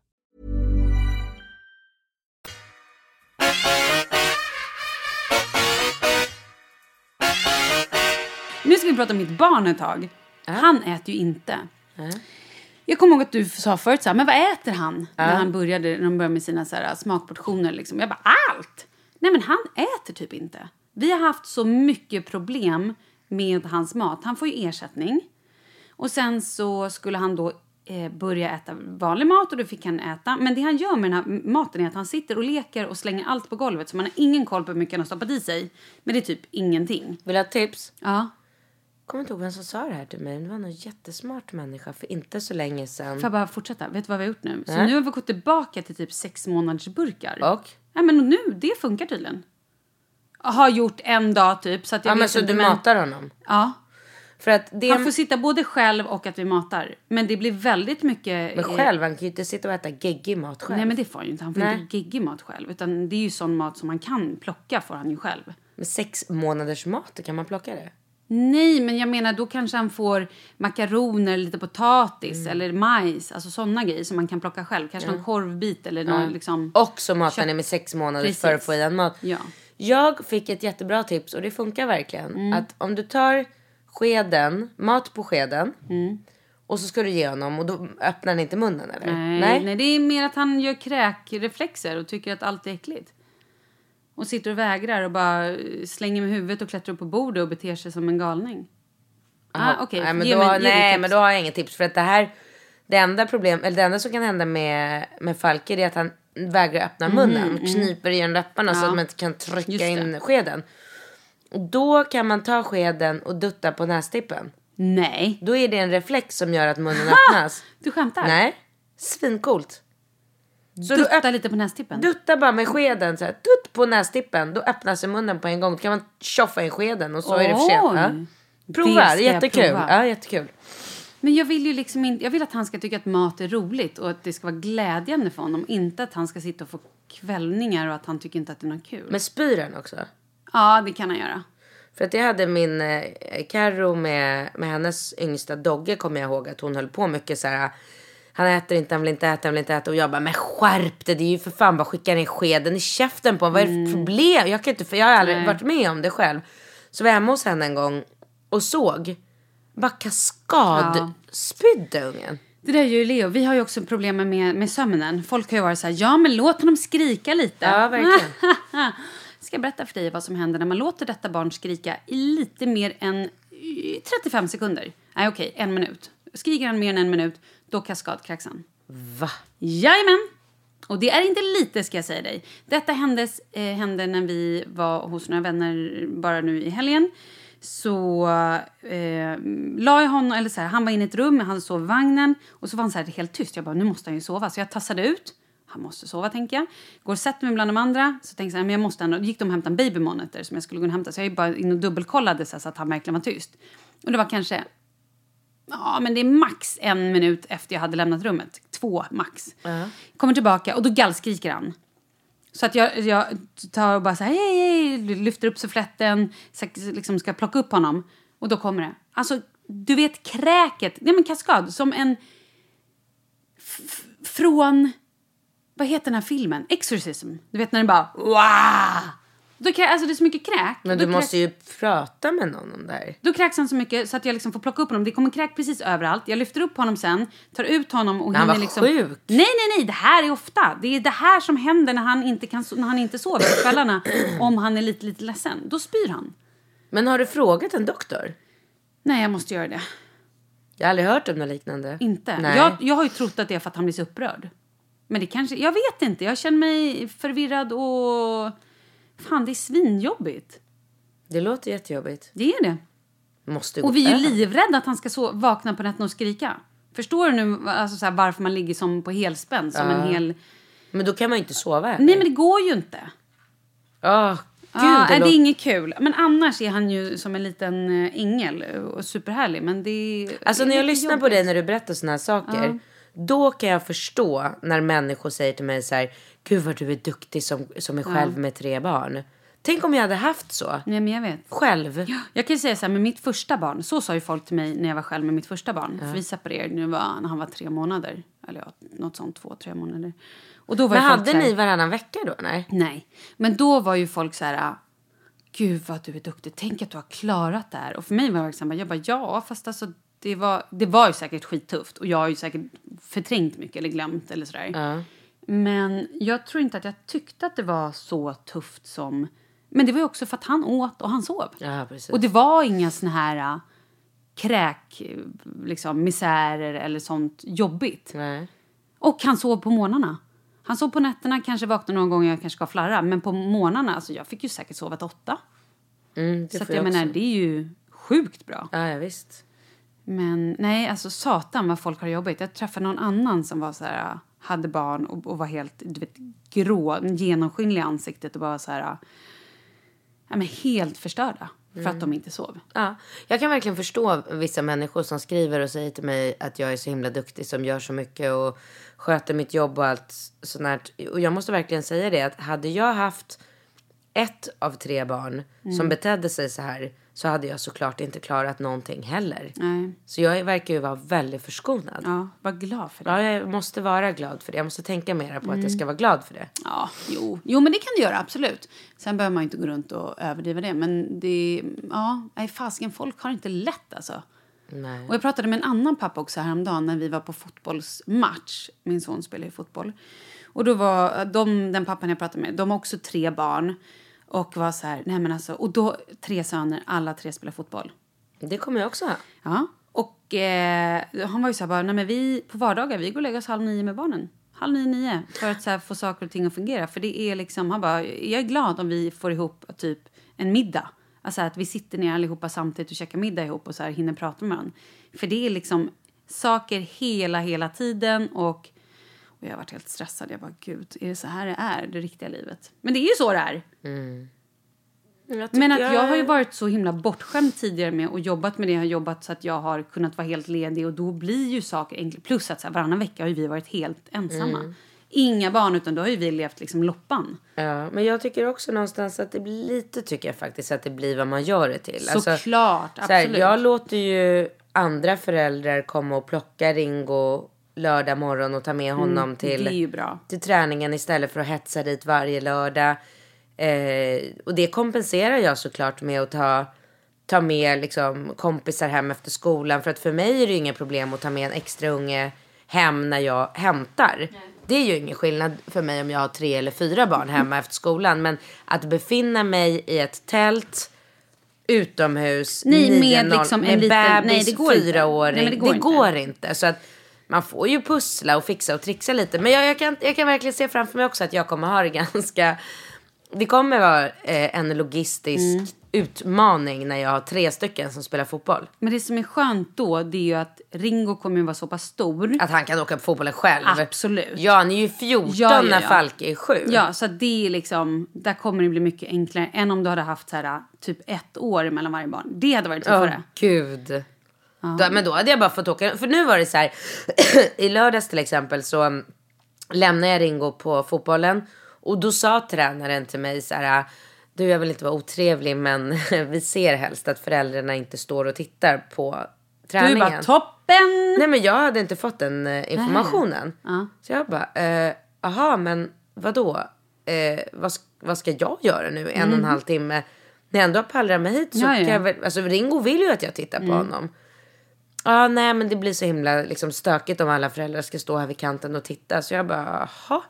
B: Nu ska vi prata om mitt barn ett tag. Han äter ju inte. Jag kommer ihåg att du sa förut så här, men vad äter han? När han började, när de började med sina så här, äh, smakportioner liksom. Jag bara, allt! Nej men han äter typ inte. Vi har haft så mycket problem med hans mat. Han får ju ersättning. Och sen så skulle han då eh, börja äta vanlig mat och då fick han äta. Men det han gör med den här maten är att han sitter och leker och slänger allt på golvet så man har ingen koll på hur mycket han har stoppat i sig. Men det är typ ingenting.
A: Vill du ha ett tips?
B: Ja.
A: Kommer inte ihåg vem som sa det här till mig. men Det var någon jättesmart människa för inte så länge sedan.
B: Får jag bara fortsätta? Vet du vad vi har gjort nu? Så nu har vi gått tillbaka till typ sex månaders burkar.
A: Och?
B: Nej men nu, det funkar tydligen. Har gjort en dag typ. Så att jag
A: Ja men
B: vet
A: så
B: inte,
A: du matar honom?
B: Ja.
A: För att det...
B: Han får sitta både själv och att vi matar. Men det blir väldigt mycket...
A: Men
B: eh,
A: själv, han kan ju inte sitta och äta geggig mat själv.
B: Nej men det får han ju inte. Han får
A: Nej.
B: inte geggig mat själv. Utan det är ju sån mat som man kan plocka får han ju själv.
A: Med sex månaders mat, kan man plocka det?
B: Nej men jag menar då kanske han får makaroner, lite potatis
A: Mm.
B: eller majs. Alltså såna grejer som man kan plocka själv. Kanske någon korvbit eller någon liksom...
A: Och så matar
B: Kött.
A: ni med sex månader
B: Precis.
A: för att få i den mat.
B: Ja.
A: Jag fick ett jättebra tips och det funkar verkligen.
B: Mm.
A: Att om du tar skeden, mat på skeden
B: Mm.
A: och så ska du ge honom och då öppnar han inte munnen eller?
B: Nej, nej. det är mer att han gör kräkreflexer och tycker att allt är äckligt. Och sitter och vägrar och bara eh, slänger med huvudet och klättrar upp på bordet och beter sig som en galning.
A: Jaha.
B: ah, okej.
A: Nej, men,
B: Ge
A: då,
B: mig- ge
A: nej
B: dig
A: men
B: tips.
A: då har jag inget tips. För att det här, det enda problem, eller det enda som kan hända med, med Falke det är att han vägrar öppna munnen. Kniper igen läpparna så att man inte kan
B: Mhm, mm. Just
A: trycka
B: det.
A: in skeden. Och Då kan man ta skeden och dutta på nästippen.
B: Nej.
A: Då är det en reflex som gör att munnen öppnas.
B: Du skämtar?
A: Nej, svincoolt. Så du
B: Dutta
A: öpp-
B: lite på nästippen?
A: dutta bara med skeden så här, dutt på nästippen. Då öppnas ju munnen på en gång. Då kan man tjoffa i skeden och så är det för sent.
B: Oj.
A: Ja.
B: Det
A: Prova, det
B: ska
A: är
B: jag
A: jättekul.
B: prova.
A: Ja, jättekul.
B: Men jag vill ju liksom inte... Jag vill att han ska tycka att mat är roligt och att det ska vara glädjande för honom. Inte att han ska sitta och få kvällningar och att han tycker inte att det är något kul.
A: Men spyr den också?
B: Ja, det kan han göra.
A: För att jag hade min eh, Carro med, med hennes yngsta Dogge kommer jag ihåg att hon höll på mycket så här. Han äter inte, han vill inte äta, han vill inte äta. Och jag bara, men skärp dig, det är ju för fan bara skicka ner skeden i käften på honom. Vad är
B: Mm.
A: det för problem? Jag, kan inte, för jag har aldrig varit med om det själv. Så var jag hemma hos henne en gång och såg. Bara
B: Ja.
A: kaskadspydde ungen.
B: Det där är ju Leo. Vi har ju också problem med, med sömnen. Folk har ju varit så här, ja men låt honom skrika lite.
A: Ja, verkligen.
B: ska jag berätta för dig vad som händer när man låter detta barn skrika i lite mer än eh, 35 sekunder. Nej, okej, en minut. Skriker han mer än en minut, då kaskadkraxan.
A: Va?
B: Jajamän! Och det är inte lite ska jag säga dig. Detta händes, eh, hände när vi var hos några vänner bara nu i helgen. Så eh, la jag honom, eller så här, han var inne i ett rum, han sov i vagnen. Och så var han så här helt tyst. Jag bara, nu måste han ju sova. Så jag tassade ut. Han måste sova tänker jag. Går och sätter mig bland de andra. Så tänkte jag, så här, men jag måste ändå. Gick de och hämtade en babymonitor som jag skulle gå och hämta. Så jag gick bara in och dubbelkollade så, här, så att han verkligen var tyst. Och det var kanske Ja, men det är max en minut efter jag hade lämnat rummet. Två max. Kommer tillbaka och då gallskriker han. Så att jag, jag tar och bara så här, hej, hej, lyfter upp suffletten, så att- liksom ska plocka upp honom. Och då kommer det. Alltså, du vet kräket, nej men kaskad, som en... f- Från... Vad heter den här filmen? Exorcism. Du vet när den bara... Wow! Då krä, alltså det är så mycket kräk.
A: Men du
B: Då kräks-
A: måste ju prata med någon om det här.
B: då kräks han så mycket så att jag liksom får plocka upp honom. Det kommer kräk precis överallt. Jag lyfter upp honom sen, tar ut honom och
A: han
B: hinner
A: var
B: liksom...
A: sjuk.
B: Nej, nej, nej. Det här är ofta. Det är det här som händer när han inte, kan, so- när han inte sover på kvällarna. Om han är lite, lite ledsen. Då spyr han.
A: Men har du frågat en doktor?
B: Nej, jag måste göra det.
A: Jag har aldrig hört om något liknande.
B: Inte.
A: Nej.
B: Jag, jag har ju trott att det är för att han blir så upprörd. Men det kanske... Jag vet inte. Jag känner mig förvirrad och... Fan, det är svinjobbigt.
A: Det låter jättejobbigt.
B: Det är det.
A: Måste gå
B: Och vi är ju
A: över.
B: livrädda att han ska så vakna på nätterna och skrika. Förstår du nu alltså så här, varför man ligger som på helspänn? Som en hel...
A: Men då kan man ju inte sova heller.
B: Nej, men det går ju inte.
A: Åh, gud,
B: ja, det,
A: det
B: det
A: låter...
B: är inget kul. Men annars är han ju som en liten eh, ängel och superhärlig. Men det
A: Alltså
B: det är
A: när jag
B: lite
A: lyssnar på
B: jobbigt.
A: dig när du berättar såna här saker. Då kan jag förstå när människor säger till mig så här. Gud vad du är duktig som, som är själv med tre barn. Tänk om jag hade haft så.
B: Nej, men jag vet.
A: Själv.
B: Jag kan ju säga så här, med mitt första barn, så sa ju folk till mig när jag var själv med mitt första barn. För vi separerade nu var, när han var tre månader. Eller ja, något sånt, två, tre månader. Och då var
A: Men
B: ju folk så
A: hade
B: här-
A: ni varannan vecka då? Nej.
B: Nej, men då var ju folk så här... "Ah, Gud, vad du är duktig. Tänk att du har klarat det här. Och för mig var det verkligen så här, jag bara, ja, fast alltså, det var, det var ju säkert skittufft. Och jag har ju säkert förträngt mycket eller glömt eller sådär. Men jag tror inte att jag tyckte att det var så tufft som... Men det var ju också för att han åt och han sov.
A: Ja, precis.
B: Och det var inga såna här äh, kräk, äh, liksom misärer eller sånt jobbigt.
A: Nej.
B: Och han sov på morgnarna. Han sov på nätterna, kanske vaknade någon gång, jag kanske ska flarra. Men på morgnarna, alltså jag fick ju säkert sova till åtta.
A: Mm,
B: så
A: det
B: att
A: får
B: jag
A: jag
B: menar,
A: också.
B: det är ju sjukt bra.
A: Ja, ja, visst.
B: Men nej, alltså satan vad folk har jobbigt. Jag träffade någon annan som var så här, äh, hade barn och, och var helt du vet, grå, genomskinlig i ansiktet och bara så här, äh, ja, men helt förstörda för
A: Mm.
B: att de inte sov.
A: Ja. Jag kan verkligen förstå vissa människor som skriver och säger till mig att jag är så himla duktig som gör så mycket och sköter mitt jobb och allt sånt här. Och jag måste verkligen säga det att hade jag haft ett av tre barn
B: Mm.
A: som betedde sig så här så hade jag såklart inte klarat någonting heller.
B: Nej,
A: Så jag verkar ju vara väldigt förskonad. Ja.
B: ja, var glad för det.
A: jag måste vara glad för det. Jag måste tänka mera på
B: Mm.
A: att jag ska vara glad för det.
B: Ja, jo. jo, men det kan du göra, absolut. Sen behöver man ju inte gå runt och överdriva det. Men det, ja, nej fasken, folk har inte lätt alltså.
A: Nej.
B: Och jag pratade med en annan pappa också häromdagen när vi var på fotbollsmatch. Min son spelar ju fotboll. Och då var de, den pappan jag pratade med, de har också tre barn. Och var så här, nej men alltså, och då tre söner, alla tre spelar fotboll.
A: Det kommer jag också ha.
B: Ja. Och eh, han var ju så här bara, nej men vi på vardagar, vi går och lägger oss halv nio med barnen. Halv nio, nio. För att så här, få saker och ting att fungera. För det är liksom, han bara, jag är glad om vi får ihop typ en middag. Alltså att vi sitter ner allihopa samtidigt och käkar middag ihop och så här hinner prata med varandra. För det är liksom saker hela, hela tiden och, och jag har varit helt stressad. Jag bara, gud, är det så här det är, det riktiga livet? Men det är ju så det är. Men att jag har ju varit så himla bortskämd tidigare med och jobbat med det jag har jobbat så att jag har kunnat vara helt ledig och då blir ju saker enklare. Plus att så här, varannan vecka har ju vi varit helt ensamma. Inga barn utan då har ju vi levt liksom loppan.
A: Ja, men jag tycker också någonstans att det blir lite tycker jag faktiskt att det blir vad man gör det till. Alltså,
B: Såklart,
A: så här,
B: absolut.
A: jag låter ju andra föräldrar komma och plocka Ringo lördag morgon och ta med honom till,
B: Mm, det är ju bra.
A: till träningen istället för att hetsa dit varje lördag. Eh, och det kompenserar jag såklart med att ta, ta med liksom, kompisar hem efter skolan. För att för mig är det ju inga problem att ta med en extra unge hem när jag hämtar. Det är ju ingen skillnad för mig om jag har tre eller fyra barn hemma efter skolan. Men att befinna mig i ett tält utomhus.
B: Nej, med
A: 9-0,
B: liksom en
A: med
B: liten-
A: bebis,
B: nej, det går inte.
A: fyraåring.
B: Nej, men
A: det
B: det
A: går,
B: går inte.
A: inte. Så att man får ju pussla och fixa och trixa lite. Men jag, jag, kan, jag kan verkligen se framför mig också att jag kommer ha det ganska... Det kommer vara eh, en logistisk
B: Mm.
A: utmaning när jag har tre stycken som spelar fotboll.
B: Men det som är skönt då det är ju att Ringo kommer ju vara så pass stor.
A: Att han kan åka på fotbollen själv.
B: Absolut.
A: Ja, han är ju 14
B: Ja, ja,
A: när
B: ja.
A: Falke är 7.
B: Ja, så att det är liksom, där kommer det bli mycket enklare än om du hade haft så här, typ ett år mellan varje barn. liksom, Det hade varit
A: Åh,
B: tuffare.
A: gud. Då, men då hade jag bara fått åka. För nu var det så här. I lördags till exempel så um, lämnade jag Ringo på fotbollen. Och då sa tränaren till mig så här. Du jag vill inte vara otrevlig men vi ser helst att föräldrarna inte står och tittar på
B: Du är
A: träningen.
B: bara toppen!
A: Nej men jag hade inte fått den eh, informationen.
B: Ja.
A: Så jag bara, eh, aha men vadå? Eh, vad, sk- vad ska jag göra nu en och en halv timme? När jag ändå har pallrat mig hit så
B: Mm. Ja, Mm. ja.
A: kan jag väl, alltså Ringo vill ju att jag tittar på honom. Ja nej men det blir så himla liksom, stökigt om alla föräldrar ska stå här vid kanten och titta. Så jag bara, aha.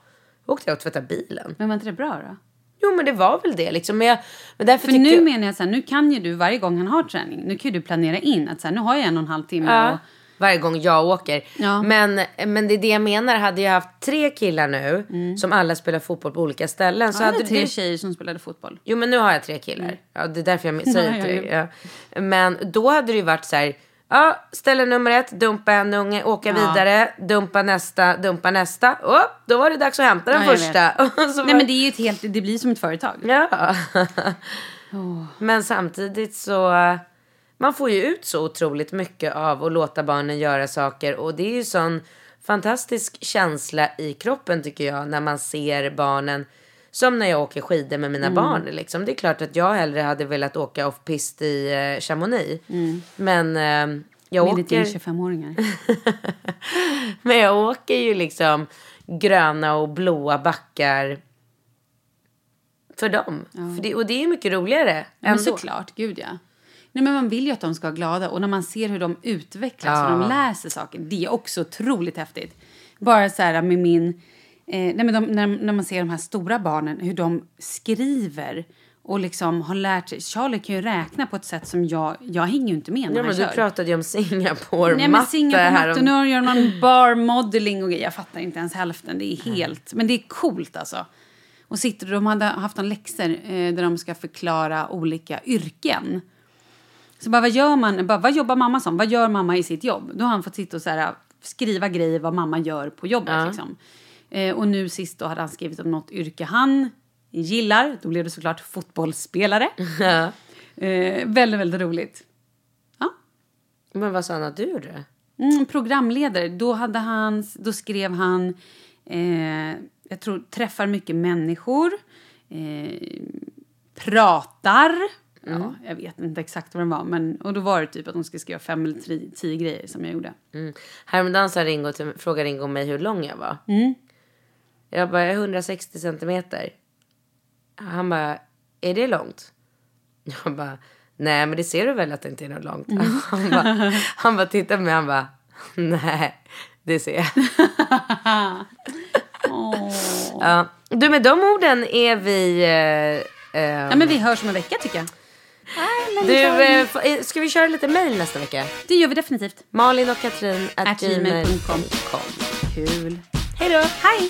A: Då åkte jag och tvättade bilen.
B: Men var inte det bra då?
A: Jo men det var väl det liksom. Men, jag, men därför
B: För
A: tyckte
B: nu
A: jag,
B: menar jag så här, nu kan ju du varje gång han har träning, nu kan ju du planera in att så här, nu har jag en och en halv timme
A: Ja.
B: och
A: Varje gång jag åker.
B: Ja.
A: Men, men det är det jag menar. Hade jag haft tre killar nu
B: Mm.
A: som alla spelar fotboll på olika ställen. Så
B: så hade
A: hade
B: tre
A: det-
B: tjejer som spelade fotboll.
A: Jo men nu har jag tre killar. Ja, det är därför jag men- säger
B: Ja, ja,
A: tre. Ja. Men då hade det ju varit så här. Ja, ställe nummer ett, dumpa en unge, åka vidare, dumpa nästa, dumpa nästa. Oh, då var det dags att hämta den
B: Ja, jag
A: första.
B: vet.
A: Och så
B: Nej
A: var-
B: men det är ju ett helt, det blir som ett företag.
A: Ja. Men samtidigt så... Man får ju ut så otroligt mycket av att låta barnen göra saker. Och det är ju sån fantastisk känsla i kroppen tycker jag. När man ser barnen. Som när jag åker skidor med mina barn. Liksom. Det är klart att jag hellre hade velat åka off-pist i eh, Chamonix. Men eh, jag
B: Med
A: åker...
B: dina 25-åringar.
A: Men jag åker ju liksom gröna och blåa backar för dem. För det, och det är ju mycket roligare
B: Ja, men såklart, gud ja. Nej, men man vill ju att de ska vara glada och när man ser hur de utvecklas och de lär sig saker, det är också otroligt häftigt. Bara så här med min... Eh, nej, men de, när, när man ser de här stora barnen, hur de skriver och liksom har lärt sig. Charlie kan ju räkna på ett sätt som jag... Jag hänger ju inte med när
A: Ja,
B: han
A: men du
B: kör.
A: pratade ju om Singapore
B: Nej, men
A: matte
B: Singapore
A: här
B: matte,
A: om...
B: nu har- gör man bar modeling och grejer. Jag fattar inte ens hälften. Det
A: Mm.
B: är helt... Men det är coolt alltså. Och sitter, de hade haft en läxor eh, där de ska förklara olika yrken. Så bara, vad gör man? Bara, vad jobbar mamma som? Vad gör mamma i sitt jobb? Då har han fått sitta och så här, skriva grejer vad mamma gör på jobbet. Liksom. Eh, och nu sist då hade han skrivit om något yrke han gillar. Då blev det såklart fotbollsspelare. eh, väldigt, väldigt roligt. Ja,
A: Men vad sa han att du gjorde?
B: Mm, programledare. Då, hade han, då skrev han... Eh, jag tror träffar mycket människor. Eh, pratar. Ja, jag vet inte exakt vad den var. Men, och då var det typ att de skulle skriva fem eller tri, tio grejer som jag gjorde.
A: Mm. Häromdagen sa Ringo till, frågade Ringo mig hur lång jag var.
B: Mm.
A: Jag bara, jag är 160 centimeter. Han bara, är det långt? Jag bara, nej men det ser du väl att det inte är något långt.
B: Mm.
A: Han, bara, han bara tittar på mig han bara, nej det ser jag. ja. Du med de orden är vi... Eh, eh,
B: Ja, men vi hörs om en vecka tycker jag.
A: Du, eh, f- eh, ska vi köra lite mail nästa vecka?
B: Det gör vi definitivt.
A: Malin och Katrin at
B: At gmail punkt com.
A: gmail.com.
B: Kul.
A: Hej då!
B: Hej!